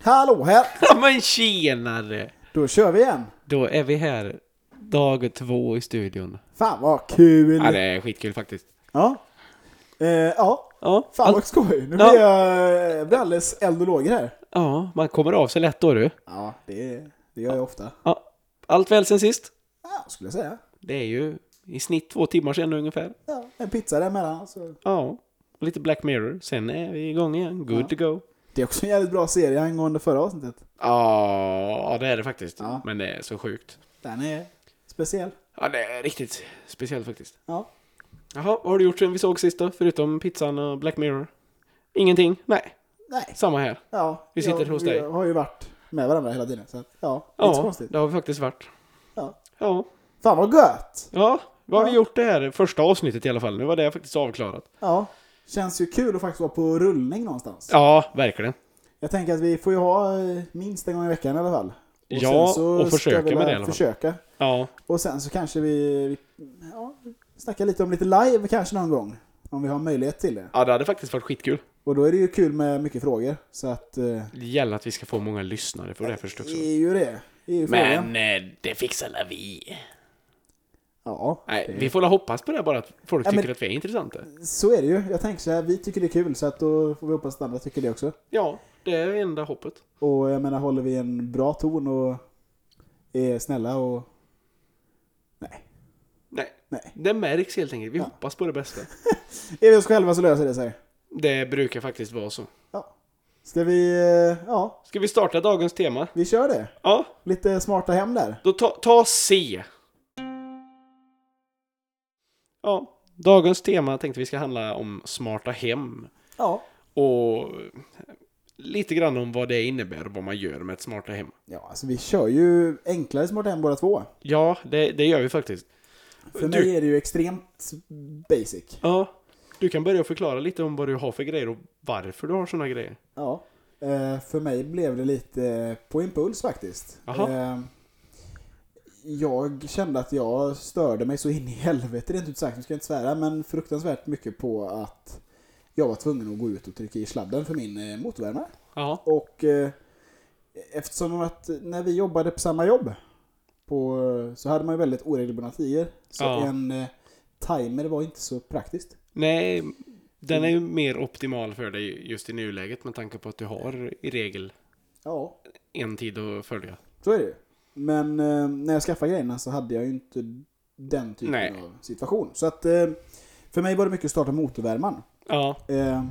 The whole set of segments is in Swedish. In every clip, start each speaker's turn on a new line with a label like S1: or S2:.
S1: Hallå här!
S2: Ja, men tjenare!
S1: Då kör vi igen.
S2: Då är vi här. Dag två i studion.
S1: Fan vad kul!
S2: Ja, det är skitkul faktiskt.
S1: Ja. Eh, ja.
S2: Ja,
S1: Fan vad
S2: allt,
S1: skoj. Nu
S2: Ja.
S1: blir jag jag blir alldeles eld och lågor här.
S2: ja, man kommer av sig lätt då du.
S1: Ja, det, det gör jag ofta.
S2: Ja, allt väl sen sist?
S1: Ja, skulle jag säga.
S2: Det är ju i snitt två timmar sedan ungefär.
S1: Ja, en pizza däremellan. Så.
S2: Ja, och lite Black Mirror. Sen är vi igång igen. Good
S1: Ja.
S2: to go.
S1: Det är också en jävligt bra serie angående förra avsnittet.
S2: Ja, det är det faktiskt.
S1: Ja.
S2: Men det är så sjukt.
S1: Den är speciell.
S2: Ja, det är riktigt speciellt faktiskt.
S1: Ja.
S2: Jaha, vad har du gjort sen vi såg sist då? Förutom pizzan och Black Mirror? Ingenting? Nej,
S1: Nej.
S2: samma här.
S1: Ja.
S2: Vi sitter
S1: jag,
S2: hos
S1: vi
S2: dig.
S1: har ju varit med varandra hela tiden. Så att, ja, inte så
S2: Ja,
S1: konstigt.
S2: det har vi faktiskt varit.
S1: Ja.
S2: Ja,
S1: Fan vad gött!
S2: ja vad har
S1: Ja.
S2: vi gjort det här första avsnittet i alla fall? Nu var det faktiskt avklarat.
S1: Ja. Känns ju kul att faktiskt vara på rullning någonstans.
S2: Ja, verkligen.
S1: Jag tänker att vi får ju ha eh, minst en gång i veckan i alla fall. Och
S2: Ja,
S1: sen så
S2: och
S1: ska
S2: försöka
S1: vi
S2: med
S1: väl
S2: det i alla fall.
S1: Försöka.
S2: Ja,
S1: Och sen så kanske vi, vi ja, snackar lite om lite live kanske någon gång. Om vi har möjlighet till det.
S2: ja det hade faktiskt varit skitkul.
S1: Och då är det ju kul med mycket frågor. Så att... Eh,
S2: Det gäller att vi ska få många lyssnare på det här först också.
S1: det är ju det. Det är ju frågan.
S2: Men eh, det fixar la vi.
S1: Ja,
S2: Nej, vi får väl hoppas på det bara att folk
S1: Ja, men-
S2: tycker att vi är intressanta.
S1: så är det ju. Jag tänker så här, vi tycker det är kul så att då får vi hoppas att andra tycker det också.
S2: Ja, det är enda hoppet.
S1: Och jag menar, håller vi en bra ton och är snälla och... Nej.
S2: Nej,
S1: Nej.
S2: det märks helt enkelt. Vi hoppas på det bästa.
S1: Är vi oss själva så löser det sig.
S2: Det brukar faktiskt vara så.
S1: Ja. Ska vi... eh, Ja,
S2: Ska vi starta dagens tema?
S1: vi kör det.
S2: Ja,
S1: Lite smarta hem där.
S2: då ta, ta C. Ja, dagens tema tänkte vi ska handla om smarta hem.
S1: Ja.
S2: Och lite grann om vad det innebär och vad man gör med ett smarta hem.
S1: Ja, alltså vi kör ju enklare smarta hem båda två.
S2: Ja, det, det gör vi faktiskt.
S1: För
S2: Du-
S1: mig är det ju extremt basic.
S2: Ja, du kan börja förklara lite om vad du har för grejer och varför du har såna grejer.
S1: Ja. Eh, För mig blev det lite på impuls faktiskt.
S2: Jaha.
S1: Eh, Jag kände att jag störde mig så in i helvete, rent ut sagt, nu ska jag inte svära, men fruktansvärt mycket på att jag var tvungen att gå ut och trycka i sladden för min eh, motorvärmare.
S2: Ja,
S1: Och eh, eftersom att när vi jobbade på samma jobb på, så hade man ju väldigt oregelbundna tider. Så
S2: Ja.
S1: en eh, timer var inte så praktiskt.
S2: nej, den är ju mer optimal för dig just i nuläget med tanke på att du har i regel
S1: Ja,
S2: en tid att följa.
S1: så är det ju. Men eh, när jag skaffade grejerna så hade jag ju inte den typen
S2: Nej.
S1: av situation. Så att eh, för mig var det mycket att starta motorvärmaren.
S2: Ja,
S1: Eh,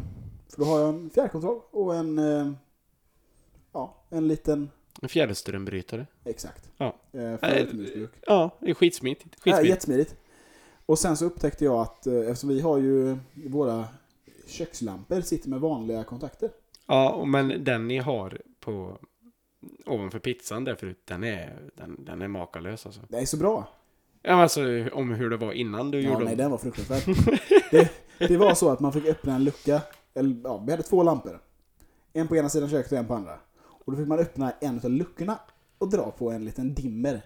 S1: för då har jag en fjärrkontroll och en, eh, ja, en liten,
S2: en fjärrströmbrytare.
S1: exakt.
S2: Ja.
S1: Eh, för
S2: Nej,
S1: utomhusbruk.
S2: Ja, det är skitsmidigt.
S1: Ja,
S2: skitsmidigt.
S1: jättesmidigt. Och sen så upptäckte jag att eh, eftersom vi har ju våra kökslampor sitter med vanliga kontakter.
S2: Ja, och men den ni har på ovanför pizzan där förut, den är, den, den är makalös alltså.
S1: Det är så bra.
S2: Ja, men alltså om hur det var innan du
S1: Ja,
S2: gjorde
S1: nej,
S2: om.
S1: den var fruktansvärd. det, det var så att man fick öppna en lucka. Eller, ja, vi hade två lampor. En på ena sidan köket och en på andra. Och då fick man öppna en av luckorna och dra på en liten dimmer.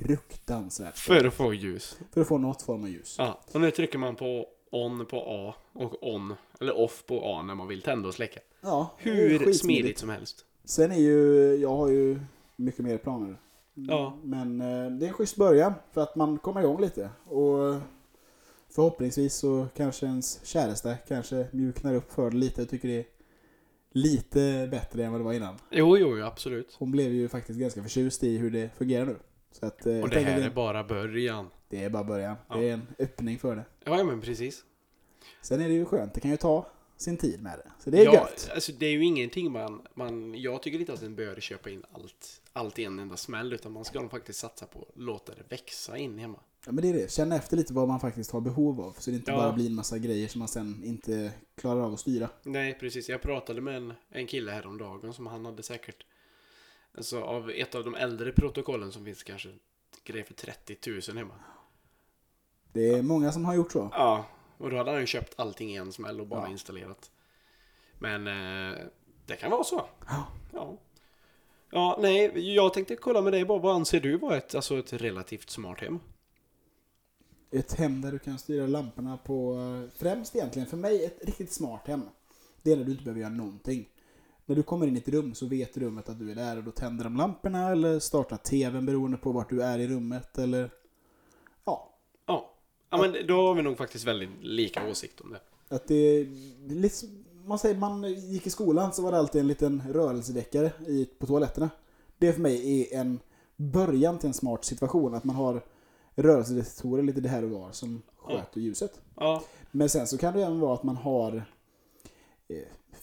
S1: Fruktansvärt.
S2: För att få ljus.
S1: För att få något form av ljus.
S2: Ja, och nu trycker man på on på A och on, eller off på A när man vill tända och släcka.
S1: Ja, det är
S2: Hur
S1: skitsmidigt.
S2: smidigt som helst.
S1: Sen är ju, jag har ju mycket mer planer.
S2: Ja.
S1: Men eh, det är en schysst början för att man kommer igång lite. Och förhoppningsvis så kanske ens käresta kanske mjuknar upp för det lite och tycker det är lite bättre än vad det var innan.
S2: Jo, jo, jo, absolut.
S1: Hon blev ju faktiskt ganska förtjust i hur det fungerar nu. Så att, eh,
S2: Och
S1: jag
S2: det
S1: tänker
S2: här
S1: att
S2: är bara början.
S1: det är bara början.
S2: Ja.
S1: Det är en öppning för det.
S2: Ja, ja, men precis.
S1: Sen är det ju skönt, det kan ju ta sin tid med det. Så det är
S2: ja,
S1: gött.
S2: Alltså, det är ju ingenting man, man... Jag tycker inte att en bör köpa in allt, allt i en enda smäll, utan man ska nog faktiskt satsa på att låta det växa in hemma.
S1: Ja, men det är det. Känna efter lite vad man faktiskt har behov av. Så det inte
S2: Ja.
S1: bara blir en massa grejer som man sen inte klarar av att styra.
S2: Nej, precis. Jag pratade med en, en kille häromdagen som han hade säkert... Alltså av ett av de äldre protokollen som finns kanske grejer för 30 000 hemma.
S1: Det är många som har gjort så.
S2: Ja, och då hade han ju köpt allting i en smäll och bara
S1: Ja.
S2: installerat. Men eh, det kan vara så.
S1: Ja.
S2: Ja. Ja, nej, jag tänkte kolla med dig bara, vad anser du vara ett, alltså ett relativt smart hem?
S1: Ett hem där du kan styra lamporna på, eh, främst egentligen för mig, ett riktigt smart hem. Det är när du inte behöver göra någonting. När du kommer in i ett rum så vet rummet att du är där och då tänder de lamporna eller startar TVn beroende på vart du är i rummet eller... Ja,
S2: Ja. ja, men då har vi nog faktiskt väldigt lika åsikt om det.
S1: att det är lite... som- Man säger man gick i skolan så var det alltid en liten rörelsedeckare i, på toaletterna. Det för mig är en början till en smart situation, att man har rörelsedetektorer lite det här och var som sköter ljuset.
S2: Ja,
S1: Men sen så kan det även vara att man har eh,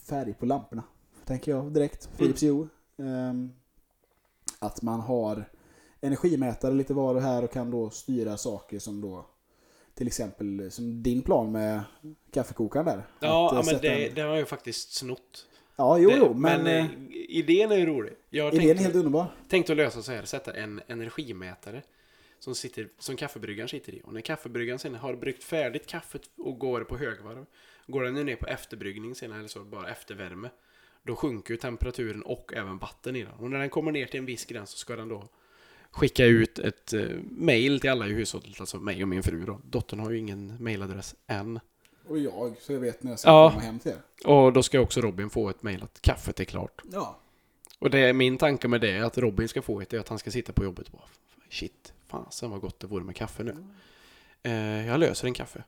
S1: färg på lamporna. Tänker jag direkt.
S2: Mm.
S1: Philips Hue. Ehm, att man har energimätare lite var och här och kan då styra saker som då till exempel som din plan med kaffekokaren där. Att, eh,
S2: ja, men
S1: sätta
S2: det,
S1: en-
S2: det har jag faktiskt snott.
S1: Ja, jo,
S2: det,
S1: jo, men,
S2: eh,
S1: men
S2: idén är ju rolig. Jag har
S1: idén är
S2: tänkt,
S1: helt underbar.
S2: tänkt att lösa så här, sätta en energimätare som, sitter, som kaffebryggaren sitter i. Och när kaffebryggaren sen har bryggt färdigt kaffet och går på högvarv, går den ju ner på efterbryggning sen eller så, bara eftervärme. Då sjunker ju temperaturen och även vatten i den. Och när den kommer ner till en viss gräns så ska den då skicka ut ett eh, mail till alla i hushållet, alltså mig och min fru då. Dottern har ju ingen mailadress än.
S1: Och jag, så jag vet när jag ska
S2: Ja.
S1: komma hem till er.
S2: Och då ska också Robin få ett mejl att kaffet är klart.
S1: Ja.
S2: Och det är min tanke med det, är att Robin ska få ett, är att han ska sitta på jobbet och bara Shit, fasen vad gott det vore med kaffe
S1: Mm.
S2: nu. Eh, jag löser en kaffe.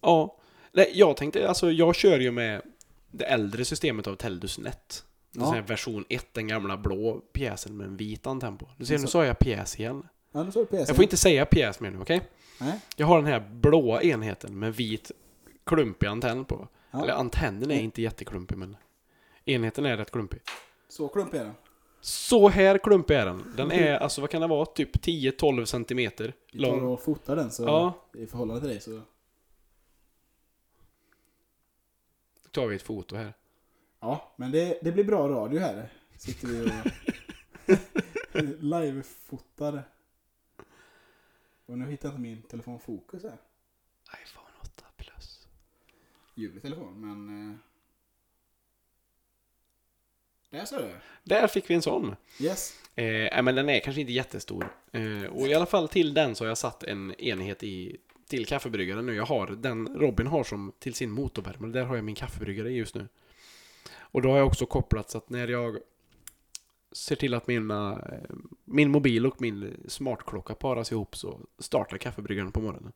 S2: Ja, nej, jag tänkte, alltså jag kör ju med det äldre systemet av Teldus Net.
S1: Ja.
S2: Ja. Version 1, den gamla blå pjäsen med en vit antenn på. Du ser, nu
S1: Alltså.
S2: sa jag pjäs igen.
S1: Ja, nu står det PC.
S2: Jag får inte säga pjäs mer nu, okej?
S1: Nej.
S2: Jag har den här blåa enheten med vit klumpig antenn på.
S1: Ja. Mm.
S2: Eller antennen är inte jätteklumpig, men enheten är rätt klumpig.
S1: Så klumpig är den.
S2: Så här klumpig är den. Den är, alltså vad kan den vara, typ 10-12 centimeter
S1: Vi tar
S2: lång.
S1: och fotar den så
S2: Ja.
S1: i förhållande till dig så...
S2: Då tar vi ett foto här.
S1: Ja, men det, det blir bra radio här. Sitter vi och live-fotar. Och nu hittar jag inte min telefon fokus här.
S2: iPhone 8 plus.
S1: Ljuvlig telefon, men... eh, Där ser du.
S2: Där fick vi en sån.
S1: Yes.
S2: Eh, nej, men den är kanske inte jättestor. Eh, och i alla fall till den så har jag satt en enhet i till kaffebryggaren nu. Jag har den Robin har som till sin motorvärmare. Där har jag min kaffebryggare i just nu. Och då har jag också kopplat så att när jag ser till att mina, eh, min mobil och min smartklocka paras ihop så startar kaffebryggaren på morgonen.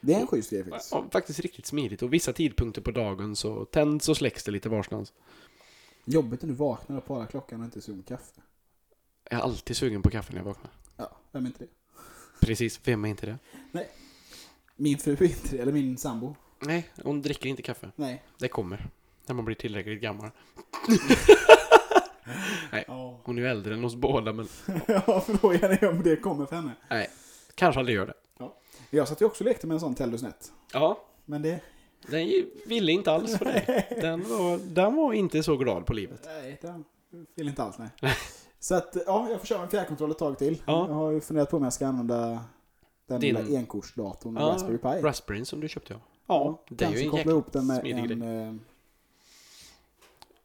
S1: Det är en schysst grej faktiskt.
S2: Ja, faktiskt riktigt smidigt och vissa tidpunkter på dagen så tänds och släcks det lite varstans.
S1: Jobbigt när du vaknar och parar klockan och inte är sugen på kaffe.
S2: Jag är alltid sugen på kaffe när jag vaknar.
S1: Ja, vem är inte det?
S2: Precis, vem är inte det?
S1: Min fru är inte det, eller min sambo.
S2: Nej, hon dricker inte kaffe.
S1: Nej.
S2: Det kommer. När man blir tillräckligt gammal.
S1: Ja,
S2: Hon är ju äldre än oss båda men
S1: ja frågan är om det kommer för henne.
S2: nej, kanske aldrig gör det.
S1: Jag satt ju också och lekte med en sån Teldusnet.
S2: Ja,
S1: Men det...
S2: den ville inte alls för det. Den var, den var inte så glad på livet.
S1: Nej, den vill inte alls nej. Så att, ja, jag får köra en fjärrkontroll ett tag till.
S2: Ja.
S1: Jag har ju funderat på om jag ska använda den
S2: Din-
S1: lilla enkortsdatorn
S2: Ja,
S1: Raspberry Pi.
S2: Raspberry som du köpte ja. Ja, det är
S1: kanske
S2: ju en
S1: koppla
S2: jäkla...
S1: ihop den med
S2: smidig
S1: en... eh,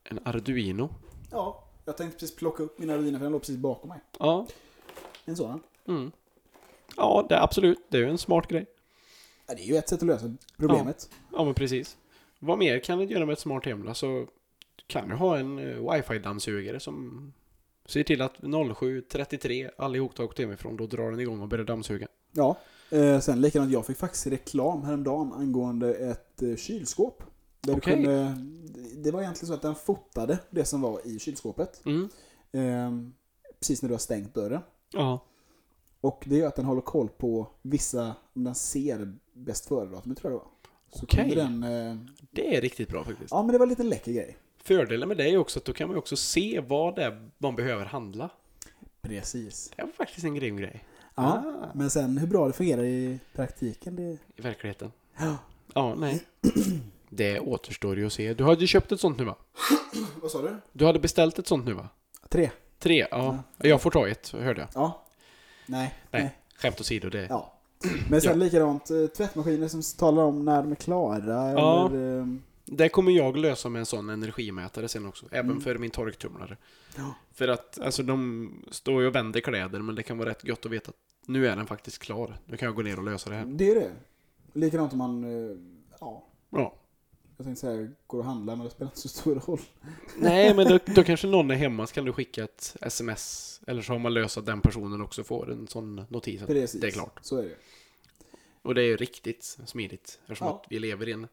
S2: En Arduino.
S1: Ja, jag tänkte precis plocka upp mina ruiner för den låg precis bakom mig.
S2: Ja,
S1: En sådan.
S2: mm. Ja, det, absolut. Det är ju en smart grej.
S1: Ja, det är ju ett sätt att lösa problemet.
S2: Ja, men precis. Vad mer kan du göra med ett smart hem? Alltså, du kan du ha en eh, wifi-dammsugare som ser till att 07.33 allihop tar åkt hemifrån, då drar den igång och börjar dammsuga.
S1: Ja. Eh, sen likadant, jag fick faktiskt reklam häromdagen angående ett eh, kylskåp. Där
S2: Okej.
S1: du kunde, det var egentligen så att den fotade det som var i kylskåpet.
S2: Mm.
S1: Eh, precis när du har stängt dörren.
S2: Ja.
S1: Och det gör att den håller koll på vissa, om den ser bäst före-datumet tror jag det var. Så
S2: Okej.
S1: kunde den, eh,
S2: Det är riktigt bra faktiskt.
S1: ja men det var en liten läcker grej.
S2: Fördelen med det är också att då kan man ju också se vad det är man behöver handla.
S1: Precis.
S2: Det var faktiskt en grym grej.
S1: Ja,
S2: Ah.
S1: men sen hur bra det fungerar i praktiken det...
S2: I verkligheten.
S1: Ja.
S2: Ja, nej. Det återstår ju att se. Du hade ju köpt ett sånt nu va?
S1: Vad sa du?
S2: Du hade beställt ett sånt nu va?
S1: Tre.
S2: Tre, ja. Jag får ta ett, hörde jag.
S1: Ja. Nej.
S2: Nej. Skämt åsido, det...
S1: Ja. Men sen likadant, eh, tvättmaskiner som talar om när de är klara
S2: Ja.
S1: eller... ehm,
S2: Det kommer jag lösa med en sån energimätare sen också, även
S1: Mm.
S2: för min torktumlare.
S1: Ja.
S2: För att alltså, de står ju och vänder kläder, men det kan vara rätt gött att veta att nu är den faktiskt klar. Nu kan jag gå ner och lösa det här.
S1: Det är det. Likadant om man, eh, ja,
S2: Ja.
S1: jag tänkte säga går och handlar men det spelar inte så stor roll.
S2: Nej, men då, då kanske någon är hemma så kan du skicka ett sms. Eller så har man löst att den personen också får en sån notis. att
S1: Precis.
S2: Det är klart.
S1: Så är det.
S2: Och det är ju riktigt smidigt. Eftersom
S1: Ja.
S2: att vi lever i en,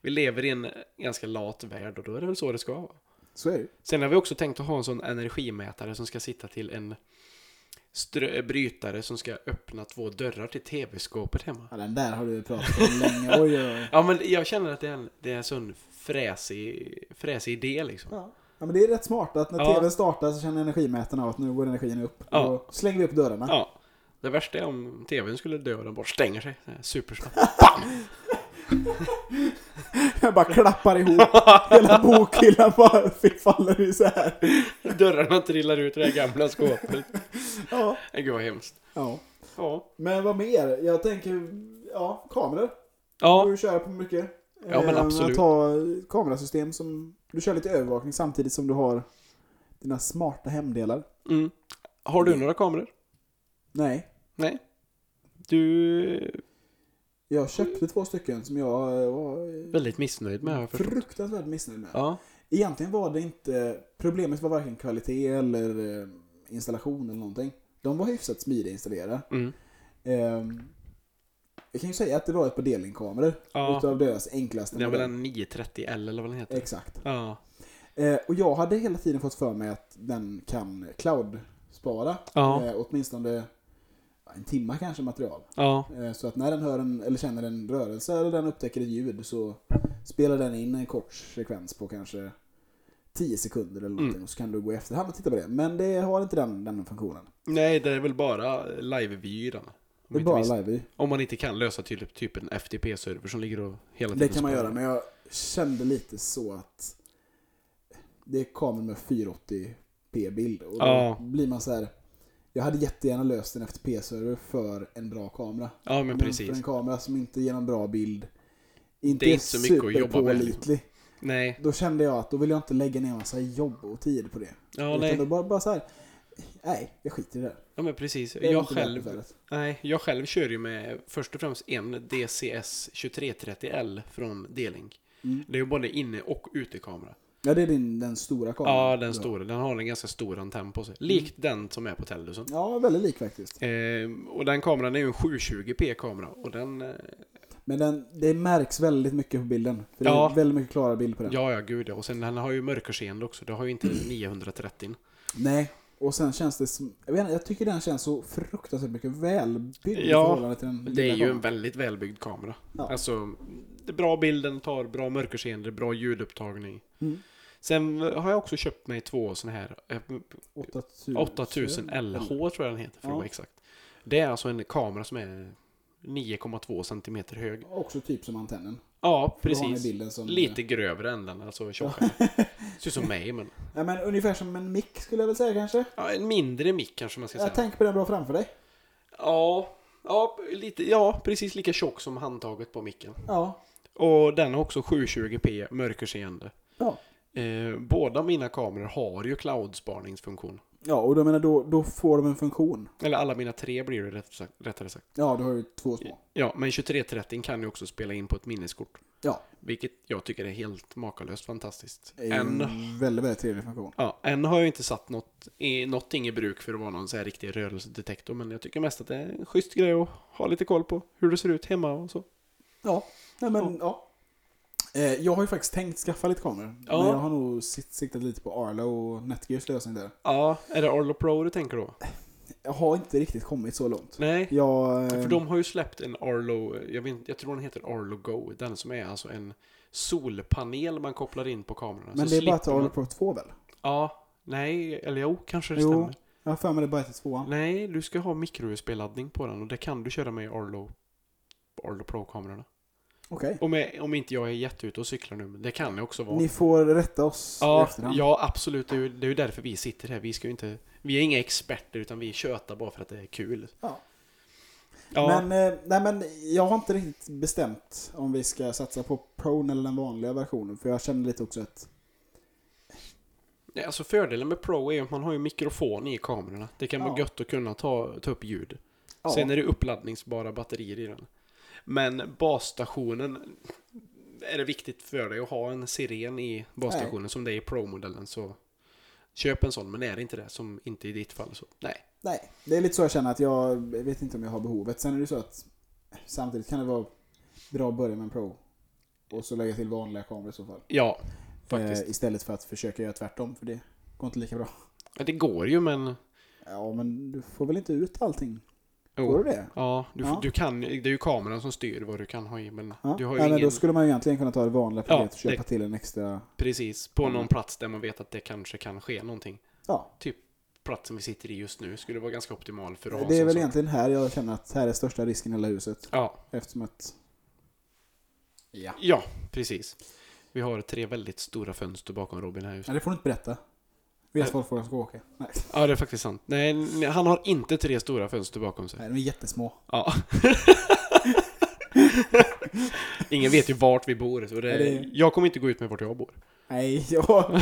S2: vi lever i en ganska lat värld och då är det väl så det ska vara.
S1: Så är det.
S2: Sen har vi också tänkt att ha en sån energimätare som ska sitta till en strö- brytare som ska öppna två dörrar till tv-skåpet hemma.
S1: Ja, den där har du pratat om länge. Oj, oj, oj.
S2: Ja, men jag känner att det är en, det är en sån fräsig, fräsig idé liksom.
S1: Ja. ja, men det är rätt smart att när
S2: Ja.
S1: tvn startar så känner energimätarna av att nu går energin upp.
S2: Ja.
S1: Då slänger vi upp dörrarna.
S2: Ja. Det värsta är om tvn skulle dö och den bara stänger sig. Det är Supersnabbt.
S1: Jag bara klappar ihop. Hela bokhyllan bara faller isär.
S2: Dörrarna trillar ut ur det här gamla skåpet.
S1: Ja.
S2: Nej, Gud vad hemskt.
S1: ja.
S2: Ja.
S1: Men vad mer? Jag tänker, ja, kameror. går
S2: Ja,
S1: ju att köra på mycket.
S2: Ja, men
S1: Eh,
S2: absolut.
S1: Att ha kamerasystem som... Du kör lite övervakning samtidigt som du har dina smarta hemdelar.
S2: Mm. Har du några kameror?
S1: Nej.
S2: Nej. Du
S1: Jag köpte två stycken som jag eh, var eh,
S2: väldigt missnöjd med har jag förstått.
S1: fruktansvärt missnöjd med.
S2: Ja.
S1: Egentligen var det inte... Problemet var varken kvalitet eller eh, installation eller någonting. De var hyfsat smidiga att installera.
S2: Mm.
S1: Ehm, Jag kan ju säga att det var ett par delningkameror
S2: Ja.
S1: utav deras enklaste
S2: Det är väl
S1: modell.
S2: en 930L eller vad den heter?
S1: Exakt.
S2: Ja.
S1: Eh, Och jag hade hela tiden fått för mig att den kan cloud-spara.
S2: Ja.
S1: Eh, åtminstone en timme kanske material.
S2: Ja.
S1: Eh, så att när den hör en, eller känner en rörelse eller den upptäcker ett ljud så spelar den in en kort sekvens på kanske 10 sekunder eller någonting.
S2: Mm.
S1: Och så kan du gå i efterhand och titta på det. Men det har inte den, den funktionen.
S2: Nej, det är väl bara live-vyer den. Om
S1: Det är
S2: inte
S1: bara
S2: visst-
S1: live
S2: Om man inte kan lösa till typ en FTP-server som ligger och hela tiden
S1: Det kan man
S2: sparar.
S1: göra, men jag kände lite så att det är kameror med 480p-bild. Och då
S2: Ja.
S1: blir man så här. Jag hade jättegärna löst en FTP-server för en bra kamera.
S2: Ja, men
S1: För
S2: precis.
S1: en kamera som inte ger någon bra bild. Inte
S2: Det är
S1: är
S2: inte så mycket att jobba med, liksom.
S1: superpålitlig.
S2: Nej.
S1: Då kände jag att då vill jag inte lägga ner massa jobb och tid på det.
S2: Ja,
S1: Utan då
S2: nej.
S1: bara, bara så här. Nej, jag skiter i det. där.
S2: Ja, men precis.
S1: Det är
S2: Jag
S1: inte värt
S2: själv
S1: tillfället.
S2: Nej, jag själv kör ju med först och främst en DCS 2330L från D-Link.
S1: Mm.
S2: Det är ju både inne och utekamera.
S1: Ja, det är din, den stora kameran.
S2: Ja,
S1: du har.
S2: den stora. Den har en ganska stor antenn på
S1: Mm.
S2: sig. Likt den som är på Tellusen.
S1: Ja, väldigt lik faktiskt.
S2: Eh, och den kameran är ju en 720p-kamera. Och den... Eh,
S1: Men den, det märks väldigt mycket på bilden. För det
S2: Ja.
S1: är väldigt mycket klara bild på den.
S2: ja, ja, gud ja. Och sen den har ju mörkerseende också. Det har ju inte 930.
S1: Nej, och sen känns det som... Jag, vet, inte, jag tycker den känns så fruktansvärt mycket välbyggd i
S2: Ja,
S1: förhållande till den
S2: Det är
S1: lilla
S2: ju en
S1: kameran.
S2: väldigt välbyggd kamera.
S1: Ja.
S2: Alltså, det är bra bilden tar, bra mörkerseende, bra ljudupptagning.
S1: Mm.
S2: Sen har jag också köpt mig två sådana här eh,
S1: 8000.
S2: 8000 LH
S1: Mm.
S2: tror jag den heter för att
S1: Ja.
S2: vara exakt. Det är alltså en kamera som är 9,2 centimeter hög.
S1: Också typ som antennen.
S2: Ja,
S1: För då har ni
S2: precis.
S1: Bilden som,
S2: Lite grövre än den, alltså tjockare. Ser ut som mig, men...
S1: Ja, men ungefär som en mick skulle jag väl säga kanske.
S2: Ja, en mindre mick kanske man ska
S1: Jag
S2: säga.
S1: tänker på den bra framför dig.
S2: Ja, ja, lite, ja, precis lika tjock som handtaget på micken.
S1: Ja.
S2: Och den har också 720p mörkerseende.
S1: Ja,
S2: Eh, båda mina kameror har ju cloud-spaningsfunktion.
S1: ja och då menar då, då får de en funktion.
S2: Eller alla mina tre blir det rätt sagt- rättare sagt.
S1: Ja, du har ju två små.
S2: Ja, men 2330 kan ju också spela in på ett minneskort.
S1: Ja,
S2: Vilket jag tycker är helt makalöst fantastiskt.
S1: det är ju
S2: Än,
S1: en väldigt, väldigt trevlig funktion.
S2: ja, än har jag inte satt något, i, någonting i bruk för att vara någon så här riktig rörelsedetektor. Men jag tycker mest att det är en schysst grej att ha lite koll på hur det ser ut hemma och så.
S1: Ja, nej men ja. Eh, Jag har ju faktiskt tänkt skaffa lite kameror.
S2: Ja.
S1: Men jag har nog sikt- siktat lite på Arlo och Netgears lösning där.
S2: Ja, är det Arlo Pro du tänker då?
S1: Jag har inte riktigt kommit så långt.
S2: Nej,
S1: Jag... eh,
S2: för de har ju släppt en Arlo, jag, vet, inte- jag tror den heter Arlo Go. Den som är alltså en solpanel man kopplar in på kamerorna.
S1: men
S2: så
S1: det är bara
S2: slipper
S1: till Arlo
S2: man-
S1: Pro 2 väl?
S2: Ja, nej, eller jo, kanske det
S1: Jo.
S2: stämmer.
S1: Jag har för mig det bara till 2
S2: Nej, du ska ha micro-USB-laddning på den och det kan du köra med Arlo, Arlo Pro-kamerorna.
S1: Okej.
S2: Om, jag- om inte jag är jätteute och cyklar nu, men det kan det också vara.
S1: Ni får rätta oss i
S2: ja,
S1: efterhand.
S2: ja, absolut. Det är, ju, det är ju därför vi sitter här. Vi, ska ju inte, vi är inga experter utan vi tjötar bara för att det är kul.
S1: Ja.
S2: Ja.
S1: Men, eh, nej, men jag har inte riktigt bestämt om vi ska satsa på Prone eller den vanliga versionen. För jag känner lite också att
S2: Nej, Alltså fördelen med Pro är att man har ju mikrofon i kamerorna. Det kan vara
S1: Ja.
S2: gött att kunna ta, ta upp ljud.
S1: Ja.
S2: Sen är det uppladdningsbara batterier i den. Men basstationen är det viktigt för dig att ha en siren i basstationen som det är i Pro-modellen så köp en sån. Men är det inte det, som inte i ditt fall så nej.
S1: Nej, det är lite så jag känner att jag vet inte om jag har behovet. Sen är det så att samtidigt kan det vara bra att börja med en Pro. Och så lägga till vanliga kameror i så fall.
S2: Ja, faktiskt.
S1: Eh, istället för att försöka göra tvärtom, för det går inte lika bra.
S2: Ja, Det går ju men...
S1: Ja, men du får väl inte ut allting?
S2: Jo.
S1: Går det det?
S2: Ja, du,
S1: Ja.
S2: du kan, det är ju kameran som styr vad du kan ha i men
S1: Ja.
S2: du har ju
S1: Nej, men
S2: ingen...
S1: då skulle man ju egentligen kunna ta det vanliga
S2: Ja,
S1: paketet och köpa
S2: det-
S1: till en extra...
S2: Precis, på någon
S1: Mm.
S2: plats där man vet att det kanske kan ske någonting.
S1: Ja,
S2: platsen vi sitter i just nu skulle vara ganska optimal för att ha
S1: det är
S2: som
S1: väl
S2: sak.
S1: egentligen här jag känner att här är största risken i hela huset.
S2: Ja,
S1: Eftersom att... Ja.
S2: ja, precis. Vi har tre väldigt stora fönster bakom Robin här just
S1: Nej, det får du inte berätta. Vet
S2: Nej.
S1: folk var de ska åka? Nej.
S2: Ja, det är faktiskt sant. Nej, nej, han har inte tre stora fönster bakom sig.
S1: Nej, de är jättesmå.
S2: Ja. Ingen vet ju vart vi bor, så
S1: Ja,
S2: det,
S1: det-
S2: jag kommer inte gå ut med vart jag bor.
S1: Nej, jag,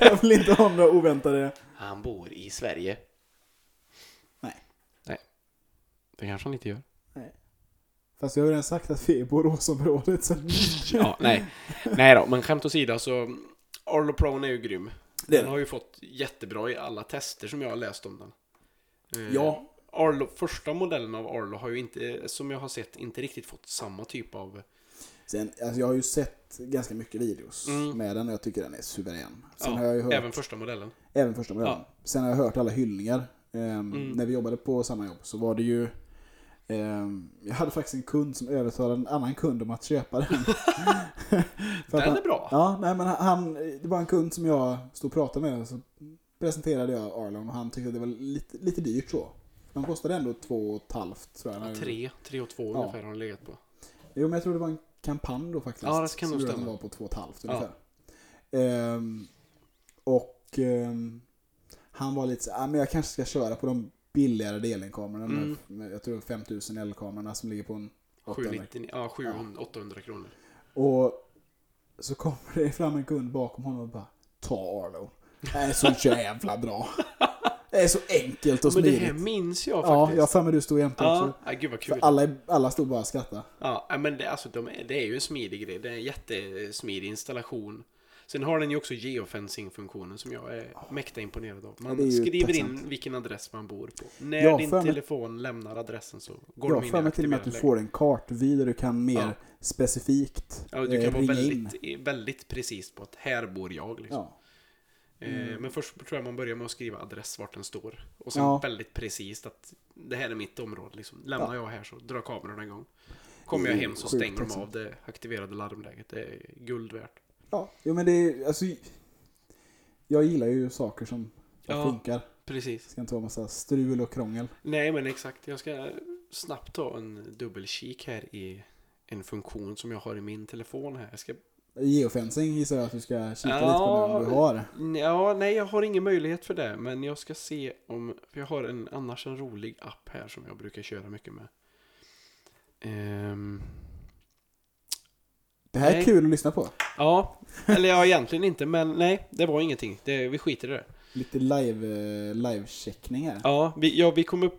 S1: jag vill inte ha några oväntade...
S2: Han bor i Sverige.
S1: Nej.
S2: Nej. Det kanske han inte gör.
S1: Fast jag har ju redan sagt att vi är i Boråsområdet så...
S2: Ja, nej. Nej då, men skämt åsido så... Arlo Prone är ju grym.
S1: Det är
S2: Den har ju fått jättebra i alla tester som jag har läst om den. Eh,
S1: Ja.
S2: Arlo, första modellen av Arlo har ju inte, som jag har sett, inte riktigt fått samma typ av...
S1: Sen, alltså jag har ju sett ganska mycket videos
S2: Mm.
S1: med den och jag tycker den är suverän. Sen
S2: Ja,
S1: har jag ju hört, även,
S2: Även första modellen.
S1: första modellen. Sen har jag hört alla hyllningar. Ehm,
S2: Mm.
S1: När vi jobbade på samma jobb så var det ju... ehm, jag hade faktiskt en kund som övertalade en annan kund om att köpa den. För att
S2: Den
S1: han,
S2: är bra.
S1: ja, nej, men han, det var en kund som jag stod och pratade med och så presenterade jag Arlon och han tyckte att det var lite, lite dyrt så. De kostade ändå två och ett halvt tror jag.
S2: Tre, tre och två
S1: Ja.
S2: ungefär har den legat på.
S1: Jo, men jag tror det var en kampanj då faktiskt.
S2: Ja, det kan
S1: som
S2: nog
S1: gjorde att den
S2: stämma.
S1: var på två och ett halvt
S2: Ja.
S1: ungefär. Ehm, och ehm, han var lite så ah, men jag kanske ska köra på de billigare DLN-kamerorna. de här
S2: Mm.
S1: f- med- Jag tror 5000 L-kamerorna som ligger på en 800.
S2: 799, ja, 700, 800 kronor.
S1: Och så kommer det fram en kund bakom honom och bara Ta Arlo. Det är så jävla bra. Det är så enkelt och
S2: Men det
S1: smidigt.
S2: här minns jag
S1: ja,
S2: faktiskt.
S1: jag har för mig du stod jämte
S2: Ja,
S1: också.
S2: ja, gud vad
S1: För
S2: kul.
S1: alla, alla stod bara och skrattade.
S2: Ja, ja, men det, alltså, de, är- det är ju en smidig grej. Det är en jättesmidig installation. Sen har den ju också geofencing-funktionen som jag är mäkta imponerad av.
S1: det är
S2: Man
S1: ju
S2: skriver in
S1: tacksamt.
S2: vilken adress man bor på. När
S1: Ja,
S2: din
S1: för mig-
S2: telefon lämnar adressen så går
S1: Jag
S2: de
S1: har
S2: in
S1: för
S2: i
S1: mig till och med att du
S2: aktiverad
S1: får en kartvy där du kan mer
S2: Ja.
S1: specifikt
S2: läge. Ja, du
S1: eh,
S2: kan vara
S1: ringa in.
S2: väldigt, liksom. väldigt precis på att här bor jag. Liksom.
S1: Ja.
S2: Eh, Men först tror jag man börjar med att skriva adress vart den står. Och sen
S1: Mm. Ja.
S2: väldigt precis att det här är mitt område. Liksom. Lämnar jag här så drar kamerorna igång. Kommer
S1: Det
S2: jag
S1: är
S2: hem så
S1: sjukt liksom.
S2: stänger de
S1: tacksamt.
S2: av det aktiverade larmläget. Det är guld värt.
S1: ja, jo men det är alltså... Jag gillar ju saker som
S2: Ja.
S1: funkar.
S2: Precis.
S1: Det ska inte vara massa strul och krångel.
S2: Nej, men exakt. Jag ska snabbt ta en dubbelkik här i en funktion som jag har i min telefon här. Jag ska...
S1: Geofencing gissar jag att du ska kika
S2: Ja.
S1: lite på nu om du har.
S2: Ja, nej, jag har ingen möjlighet för det, men jag ska se om... För jag har en annars en rolig app här som jag brukar köra mycket med. Ehm,
S1: Det här är
S2: Nej.
S1: kul att lyssna på.
S2: ja, eller ja, egentligen inte, men nej, det var ingenting. Det, vi skiter i det.
S1: Lite live, eh, live-checkning här.
S2: Ja, vi, ja, vi kommer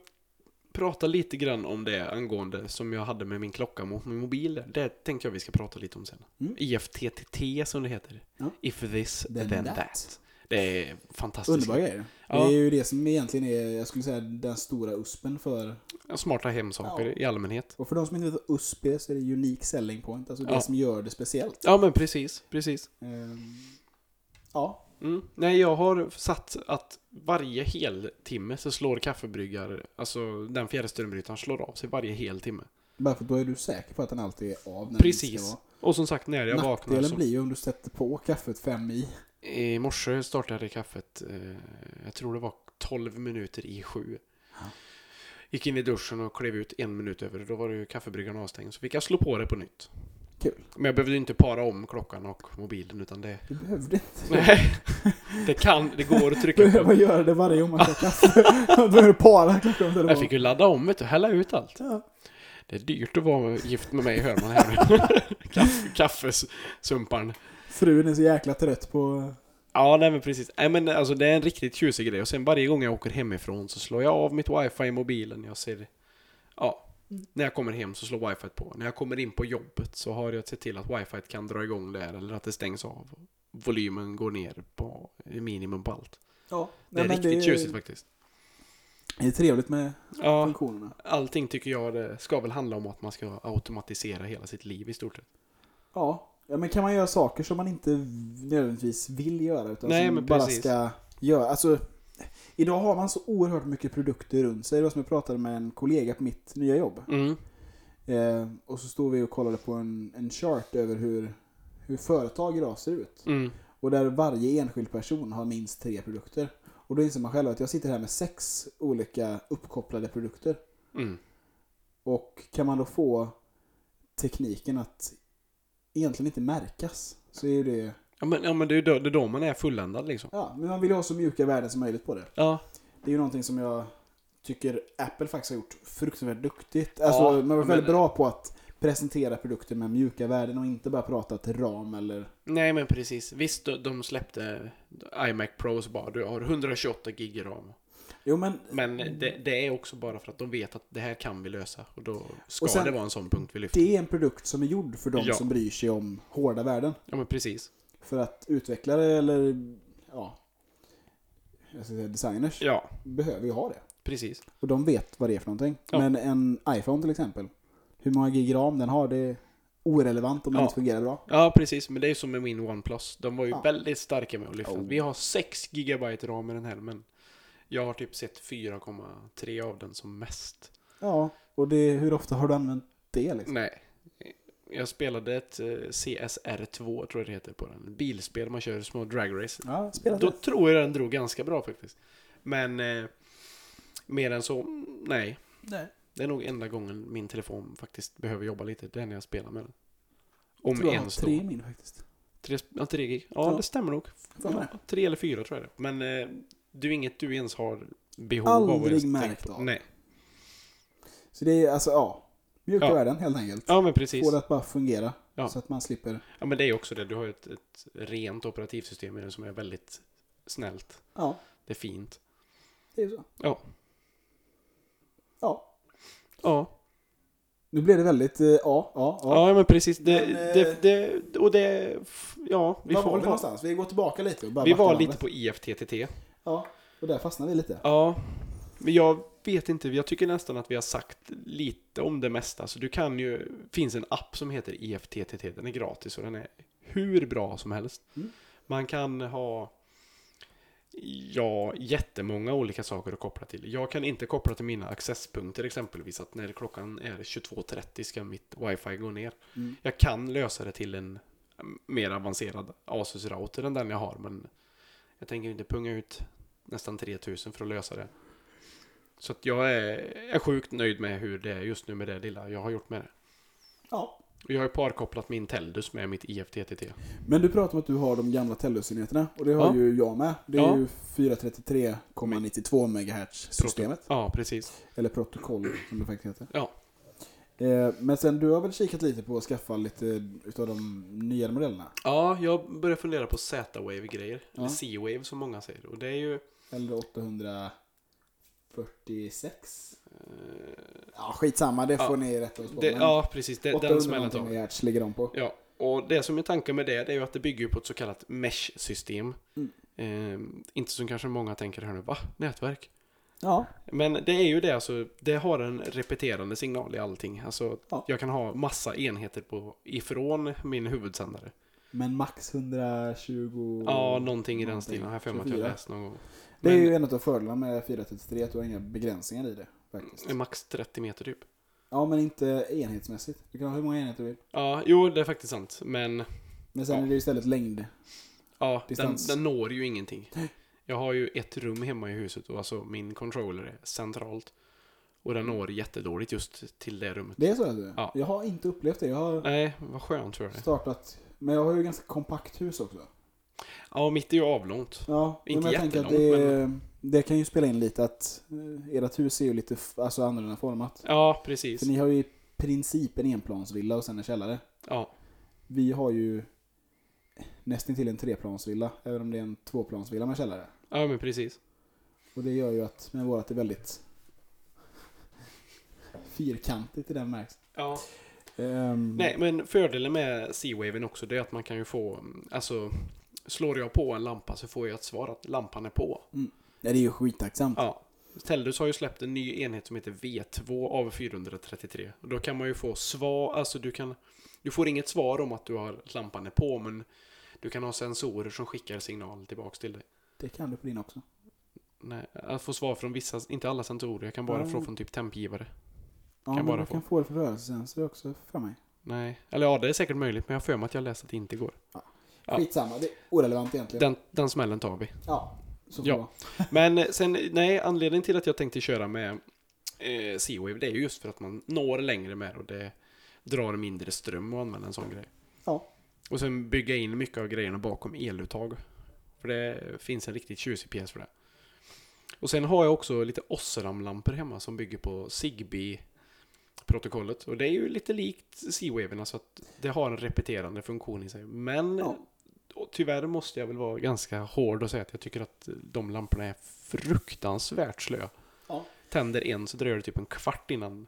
S2: prata lite grann om det angående som jag hade med min klocka mot min mobil. där. Det tänker jag vi ska prata lite om sen.
S1: Mm.
S2: IFTTT som det heter.
S1: Ja.
S2: If this,
S1: Then
S2: then,
S1: that.
S2: that. Det är fantastiskt.
S1: Underbara grejer.
S2: Ja.
S1: Det är ju det som egentligen är, jag skulle säga, den stora USPen för...
S2: Smarta hemsaker
S1: Ja.
S2: i allmänhet.
S1: Och för de som inte vet vad USP är så är det unique selling point. Alltså det
S2: Ja.
S1: som gör det speciellt.
S2: Ja, men precis. precis.
S1: Ehm, ja,
S2: Mm. Nej, jag har satt att varje heltimme så slår kaffebryggar, alltså den fjärrströmbrytaren slår av sig varje hel timme.
S1: Bara för att då är du säker på att den alltid är av när den
S2: Precis.
S1: ska
S2: Och som sagt, när jag
S1: vara.
S2: vaknar alltså.
S1: Nackdelen
S2: så
S1: blir ju om du sätter på kaffet fem i.
S2: I morse startade kaffet, eh, jag tror det var 12 minuter i sju.
S1: Ja.
S2: Gick in i duschen och klev ut en minut över och då var det ju kaffebryggaren avstängd. Så fick jag slå på det på nytt.
S1: Kul.
S2: Men jag behövde ju inte para om klockan och mobilen utan det...
S1: Du behövde inte
S2: Nej. Det kan, det går att trycka på.
S1: behöva göra det varje gång man tar kaffe. Man behöver para klockan och
S2: Jag
S1: telefonen.
S2: fick ju ladda om vet du, hälla ut allt.
S1: Ja.
S2: Det är dyrt att vara gift med mig hör man här nu. Kaff, kaffesumparen.
S1: Frun är så jäkla trött på...
S2: Ja, nej men precis. Nej men alltså det är en riktigt tjusig grej. Och sen varje gång jag åker hemifrån så slår jag av mitt wifi i mobilen. Jag ser... Ja. När jag kommer hem så slår wifi på. När jag kommer in på jobbet så har jag sett till att wifi kan dra igång där eller att det stängs av. Volymen går ner på minimum på allt.
S1: Ja,
S2: Det är riktigt tjusigt faktiskt.
S1: Det är trevligt med
S2: Ja,
S1: funktionerna.
S2: allting tycker jag det ska väl handla om att man ska automatisera hela sitt liv i stort sett.
S1: Ja. ja, men kan man göra saker som man inte nödvändigtvis vill göra utan
S2: Nej,
S1: som
S2: men
S1: bara
S2: precis.
S1: ska göra. Alltså, idag har man så oerhört mycket produkter runt sig. Det var som jag pratade med en kollega på mitt nya jobb.
S2: Mm.
S1: Eh, och så stod vi och kollade på en, en chart över hur, hur företag idag ser ut.
S2: Mm.
S1: Och där varje enskild person har minst tre produkter. Och då inser man själv att jag sitter här med sex olika uppkopplade produkter.
S2: Mm.
S1: Och kan man då få tekniken att egentligen inte märkas så är ju det...
S2: Ja men, ja men det är ju då, det är då man är fulländad liksom.
S1: Ja, men man vill ju ha så mjuka värden som möjligt på det.
S2: Ja.
S1: Det är ju någonting som jag tycker Apple faktiskt har gjort fruktansvärt duktigt. Alltså,
S2: Ja,
S1: man var
S2: men-
S1: väldigt bra på att presentera produkter med mjuka värden och inte bara prata till ram eller...
S2: Nej men precis. Visst, de, de släppte iMac Pros bara. Du har 128 gig ram.
S1: Jo, men...
S2: Men det, det är också bara för att de vet att det här kan vi lösa. Och då ska
S1: Och sen-
S2: det vara en sån punkt vi lyfter.
S1: Det är en produkt som är gjord för de
S2: Ja.
S1: som bryr sig om hårda värden.
S2: Ja men precis.
S1: För att utvecklare eller... Ja... Jag ska säga designers
S2: Ja,
S1: behöver ju ha det.
S2: precis.
S1: Och de vet vad det är för någonting.
S2: Ja.
S1: Men en iPhone till exempel. Hur många gig ram den har, det är orelevant om den
S2: Ja.
S1: inte fungerar bra.
S2: Ja precis, men det är ju som med min OnePlus. De var ju
S1: Ja.
S2: väldigt starka med att lyfta.
S1: Oh.
S2: Vi har 6 gigabyte ram i den här men jag har typ sett 4,3 av den som mest.
S1: Ja, och det, hur ofta har du använt det liksom?
S2: Nej. Jag spelade ett eh, CSR2 tror jag det heter på den. Ett Bilspel man kör små dragrace.
S1: Ja, spelat
S2: Då
S1: det.
S2: tror jag den drog ganska bra faktiskt. Men eh, mer än så, mm, nej.
S1: Nej.
S2: Det är nog enda gången min telefon faktiskt behöver jobba lite. Det är när jag spelar med den. Om
S1: tror jag har
S2: ens då.
S1: tre i min faktiskt.
S2: Tre, ja, tre gig. Ja,
S1: Ja.
S2: det stämmer nog.
S1: För mig.
S2: Ja, tre eller fyra tror jag det är. Men eh, du är inget du ens har behov av. att
S1: Aldrig
S2: ens
S1: märkt
S2: tänka på.
S1: av.
S2: Nej.
S1: Så det är alltså, ja. Mjuka
S2: Ja.
S1: värden helt enkelt.
S2: Ja, men precis.
S1: Få det att bara fungera.
S2: Ja.
S1: Så att man slipper.
S2: Ja, men det är ju också det. Du har ju ett, ett rent operativsystem i den som är väldigt snällt.
S1: Ja,
S2: Det är fint.
S1: det är så.
S2: Ja.
S1: Ja.
S2: Ja,
S1: Nu blev det väldigt, eh, ja, ja, ja.
S2: ja, men precis. Det,
S1: Men, eh,
S2: det, det, och det... f- Ja, vi
S1: Var var
S2: får
S1: vi
S2: väl ha...
S1: någonstans? Vi går tillbaka lite och bara
S2: Vi
S1: backar
S2: var
S1: bandet.
S2: lite på E IFTTT.
S1: Ja, och där fastnade vi lite.
S2: Ja, men jag vet inte. Jag tycker nästan att vi har sagt lite om det mesta. Så du kan ju... finns en app som heter E IFTTT. Den är gratis och den är hur bra som helst.
S1: Mm.
S2: Man kan ha... Ja, jättemånga olika saker att koppla till. Jag kan inte koppla till mina accesspunkter exempelvis att när klockan är 22.30 ska mitt wifi gå ner.
S1: Mm.
S2: Jag kan lösa det till en mm, mer avancerad Asus-router än den jag har, men jag tänker inte punga ut nästan 3000 för att lösa det. Så att jag är, är sjukt nöjd med hur det är just nu med det lilla jag har gjort med det.
S1: Ja.
S2: Och jag har ju parkopplat min Teldus med mitt IFTTT.
S1: Men du pratar om att du har de gamla Telus-enheterna och det har
S2: Ja.
S1: ju jag med. Det är
S2: Ja.
S1: ju 433,92 MHz-systemet.
S2: Ja, precis.
S1: Eller protokoll som det faktiskt heter.
S2: Ja.
S1: Eh, Men sen du har väl kikat lite på att skaffa lite utav de nyare modellerna?
S2: Ja, jag börjar fundera på Z-Wave-grejer. Eller
S1: Ja.
S2: Z-Wave som många säger. Och det är ju...
S1: Eller 846? Ja, skitsamma. Det
S2: Eh. Ja.
S1: får ni rätta oss på.
S2: Det,
S1: men
S2: ja, precis. Det, den
S1: 800
S2: smällen
S1: någonting
S2: tar vi.
S1: MHz ligger de på.
S2: Ja, och det som är tanken med det, det är ju att det bygger ju på ett så kallat mesh-system.
S1: Mm.
S2: Eh, inte som kanske många tänker här nu, va? Nätverk?
S1: Ja.
S2: Men det är ju det, alltså, det har en repeterande signal i allting. Alltså,
S1: Ja.
S2: jag kan ha massa enheter på, ifrån min huvudsändare.
S1: Men max 120...
S2: ja, någonting i den
S1: någonting.
S2: stilen. Här för mig att jag
S1: 24.
S2: läst någon gång.
S1: Det är
S2: Men-
S1: ju en av fördelarna med 433, att du har inga begränsningar i det. Faktiskt.
S2: Max 30 meter typ.
S1: Ja, men inte enhetsmässigt. Du kan ha hur många enheter du vill.
S2: Ja, jo, det är faktiskt sant. Men
S1: Men sen
S2: Ja.
S1: är det ju istället längd.
S2: ja, den,
S1: Distans.
S2: den når ju ingenting. Jag har ju ett rum hemma i huset och alltså min controller är centralt. Och den når jättedåligt just till det rummet.
S1: Det är så alltså?
S2: Ja.
S1: Jag har inte upplevt det. Jag har
S2: Nej, vad skönt för dig.
S1: startat... Men jag har ju ganska kompakt hus också.
S2: Ja, mitt är ju avlångt.
S1: Ja,
S2: Inte
S1: men jag tänker att
S2: jättelångt,
S1: det, det kan ju spela in lite att eh, ert hus är ju lite f- alltså annorlunda format.
S2: Ja, precis.
S1: För ni har ju i princip en enplansvilla och sen en källare.
S2: Ja,
S1: Vi har ju nästan till en treplansvilla, även om det är en tvåplansvilla med källare.
S2: ja men precis.
S1: Och det gör ju att, men vårat är väldigt fyrkantigt i den märks.
S2: Ja.
S1: Ehm,
S2: Nej, men fördelen med Seawaven också det är att man kan ju få, alltså slår jag på en lampa så får jag ett svar att lampan är på.
S1: nej, det är ju skittacksamt.
S2: Ja. Tellus har ju släppt en ny enhet som heter V2 av 433. Och då kan man ju få svar, alltså du kan, du får inget svar om att du har att lampan är på men du kan ha sensorer som skickar signaler tillbaks till dig.
S1: Det kan du på din också.
S2: Nej, att få svar från vissa, inte alla sensorer, jag kan bara
S1: Nej.
S2: få från typ tempgivare.
S1: Ja,
S2: Kan
S1: men
S2: bara
S1: du
S2: få.
S1: kan få det för rörelsesensorer också, för mig.
S2: Nej, eller ja det är säkert möjligt men jag har för mig att jag läste att det inte går. Ja.
S1: Skitsamma, det är orelevant egentligen.
S2: Den, den smällen tar vi.
S1: Ja, så får
S2: Ja.
S1: det vara.
S2: Men eh, sen, nej, anledningen till att jag tänkte köra med eh, Seawave det är ju just för att man når längre med det och det drar mindre ström och använder en sån grej.
S1: Ja.
S2: Och sen bygga in mycket av grejerna bakom eluttag. För det finns en riktigt tjusig pjäs för det. Och sen har jag också lite Osram-lampor hemma som bygger på Zigbee-protokollet. Och det är ju lite likt Seawaven, så att det har en repeterande funktion i sig. Men
S1: Ja.
S2: och tyvärr måste jag väl vara ganska hård och säga att jag tycker att de lamporna är fruktansvärt slöa.
S1: Ja.
S2: Tänder en så dröjer det typ en kvart innan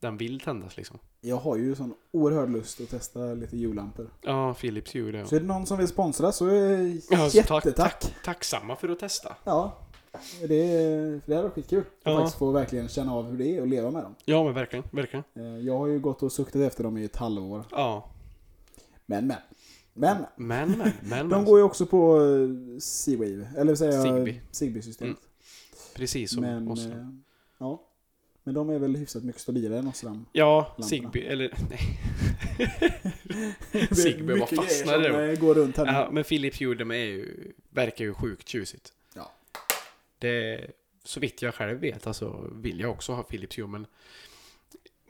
S2: den vill tändas liksom.
S1: Jag har ju sån oerhörd lust att testa lite jullampor.
S2: Ja, Philips Hue det.
S1: Så är det någon som vill sponsra så eh,
S2: Ja, så tack-
S1: jättetack.
S2: Tacksamma för att testa.
S1: Ja, det, är- för det här var skitkul. Att
S2: Ja.
S1: faktiskt få verkligen känna av hur det är att leva med dem.
S2: Ja, men verkligen, verkligen.
S1: Eh, Jag har ju gått och suktat efter dem i ett halvår.
S2: Ja,
S1: Men, men. Men,
S2: men men, men,
S1: de
S2: men.
S1: går ju också på eh, C-Wave. Eller vill säga
S2: Zigbee.
S1: Zigbee-systemet.
S2: Precis som
S1: men,
S2: oss.
S1: eh, ja. Men de är väl hyfsat mycket stabilare än Osram.
S2: Ja,
S1: lamporna.
S2: Zigbee, eller nej. Zigbee, vad fastnade det då?
S1: det eh, går runt här nu.
S2: Ja, men Philips Hue de är ju, verkar ju sjukt tjusigt.
S1: Ja.
S2: Det, så vitt jag själv vet, alltså vill jag också ha Philips Hue, men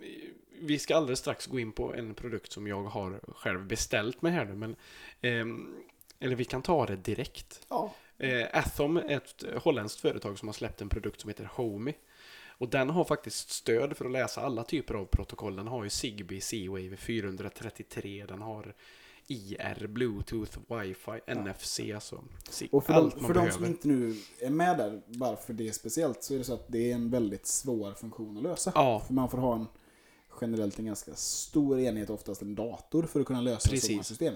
S2: eh, vi ska alldeles strax gå in på en produkt som jag har själv beställt med här nu, men ehm, eller vi kan ta det direkt.
S1: Ja.
S2: Eh, Athom är ett eh, holländskt företag som har släppt en produkt som heter Homey. Och den har faktiskt stöd för att läsa alla typer av protokoll. Den har ju Zigbee, Z-Wave 433, den har IR, Bluetooth, Wi-Fi, NFC, alltså Zig-
S1: Och för,
S2: allt
S1: de,
S2: man
S1: för de
S2: behöver.
S1: som inte nu är med där, bara för det speciellt, så är det så att det är en väldigt svår funktion att lösa.
S2: Ja,
S1: För man får ha en generellt en ganska stor enhet, oftast en dator, för att kunna lösa
S2: Precis.
S1: så många system.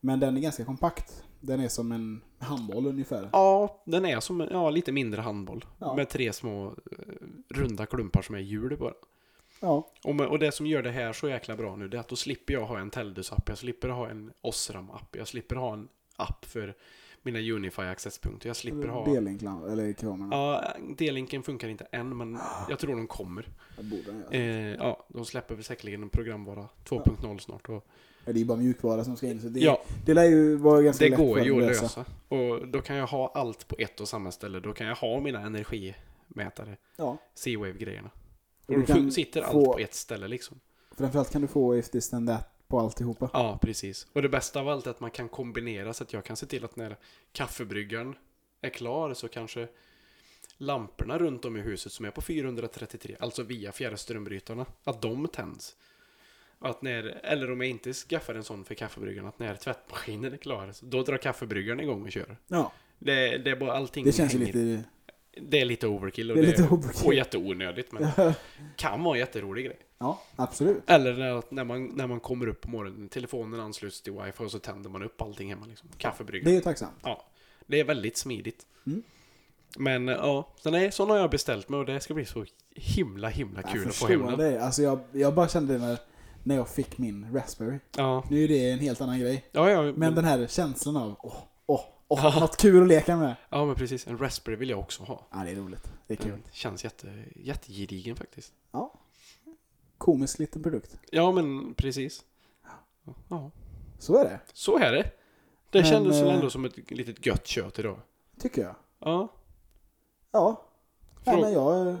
S1: Men den är ganska kompakt. Den är som en handboll ungefär.
S2: ja, den är som en- ja, lite mindre handboll.
S1: Ja.
S2: Med tre små eh, runda klumpar som är hjul bara.
S1: Ja.
S2: Och, med, och det som gör det här så jäkla bra nu, det är att då slipper jag ha en Teldus-app, jag slipper ha en Osram-app, jag slipper ha en app för mina Unify accesspunkter, jag
S1: Mm,
S2: slipper ha...
S1: Delinklan, eller kamerorna.
S2: Ja, D-linken funkar inte än, men jag tror de kommer.
S1: Det borde den göra.
S2: Eh, ja, de släpper väl säkerligen en programvara 2.0 snart. Och,
S1: Ja, Det är ju bara mjukvara som ska in, så det,
S2: ja,
S1: det lär ju vara ganska
S2: det
S1: lätt
S2: går
S1: för
S2: ju att lösa. Och då kan jag ha allt på ett och samma ställe. Då kan jag ha mina energimätare,
S1: Ja.
S2: C-Wave-grejerna.
S1: Och
S2: Och
S1: du
S2: då
S1: kan
S2: fun- sitter allt
S1: få-
S2: på ett ställe liksom.
S1: Framförallt kan du få if this then that på alltihopa.
S2: Ja, precis. Och det bästa av allt är att man kan kombinera så att jag kan se till att när kaffebryggaren är klar så kanske lamporna runt om i huset som är på 433, alltså via fjärrströmbrytarna, att de tänds. Och Att när, eller om jag inte skaffar en sån för kaffebryggaren, att när tvättmaskinen är klar, så då drar kaffebryggaren igång och kör.
S1: Ja.
S2: Det, det är bara allting
S1: Det känns ju
S2: hänger-
S1: lite...
S2: Det är lite overkill och
S1: Det är lite
S2: och
S1: overkill.
S2: jätteonödigt men kan vara en jätterolig grej.
S1: Ja, absolut.
S2: Eller när, att- när, man, när man kommer upp på morgonen, telefonen ansluts till wifi och så tänder man upp allting hemma. Liksom. Kaffebryggaren.
S1: Det är ju tacksamt.
S2: Ja, det är väldigt smidigt.
S1: Mm.
S2: Men eh, ja, så nej, sån har jag beställt mig och det ska bli så himla himla
S1: Jag
S2: kul att få
S1: förstår
S2: hem den.
S1: dig. Alltså jag, jag bara kände det när, när jag fick min Raspberry.
S2: Ja,
S1: Nu är det en helt annan grej.
S2: ja, ja, men,
S1: Men den här känslan av åh, åh, åh, något kul att leka med.
S2: ja, men precis. En Raspberry vill jag också ha.
S1: Ja, det är roligt. Det är kul.
S2: Den känns jätte, jättegedigen faktiskt.
S1: Komisk liten produkt.
S2: Ja, men precis. Ja,
S1: Så är det,
S2: så är det. Det
S1: Men,
S2: kändes väl
S1: eh,
S2: ändå som ett litet gött kött idag.
S1: tycker jag.
S2: Ja,
S1: Ja, Nej,
S2: Frå-
S1: men jag,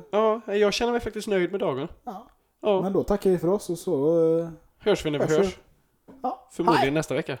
S2: Ja, jag känner mig faktiskt nöjd med dagen.
S1: ja.
S2: Ja,
S1: Men då tackar vi för oss och så... eh,
S2: hörs vi när vi
S1: hörs vi.
S2: hörs.
S1: Ja.
S2: Förmodligen nästa vecka.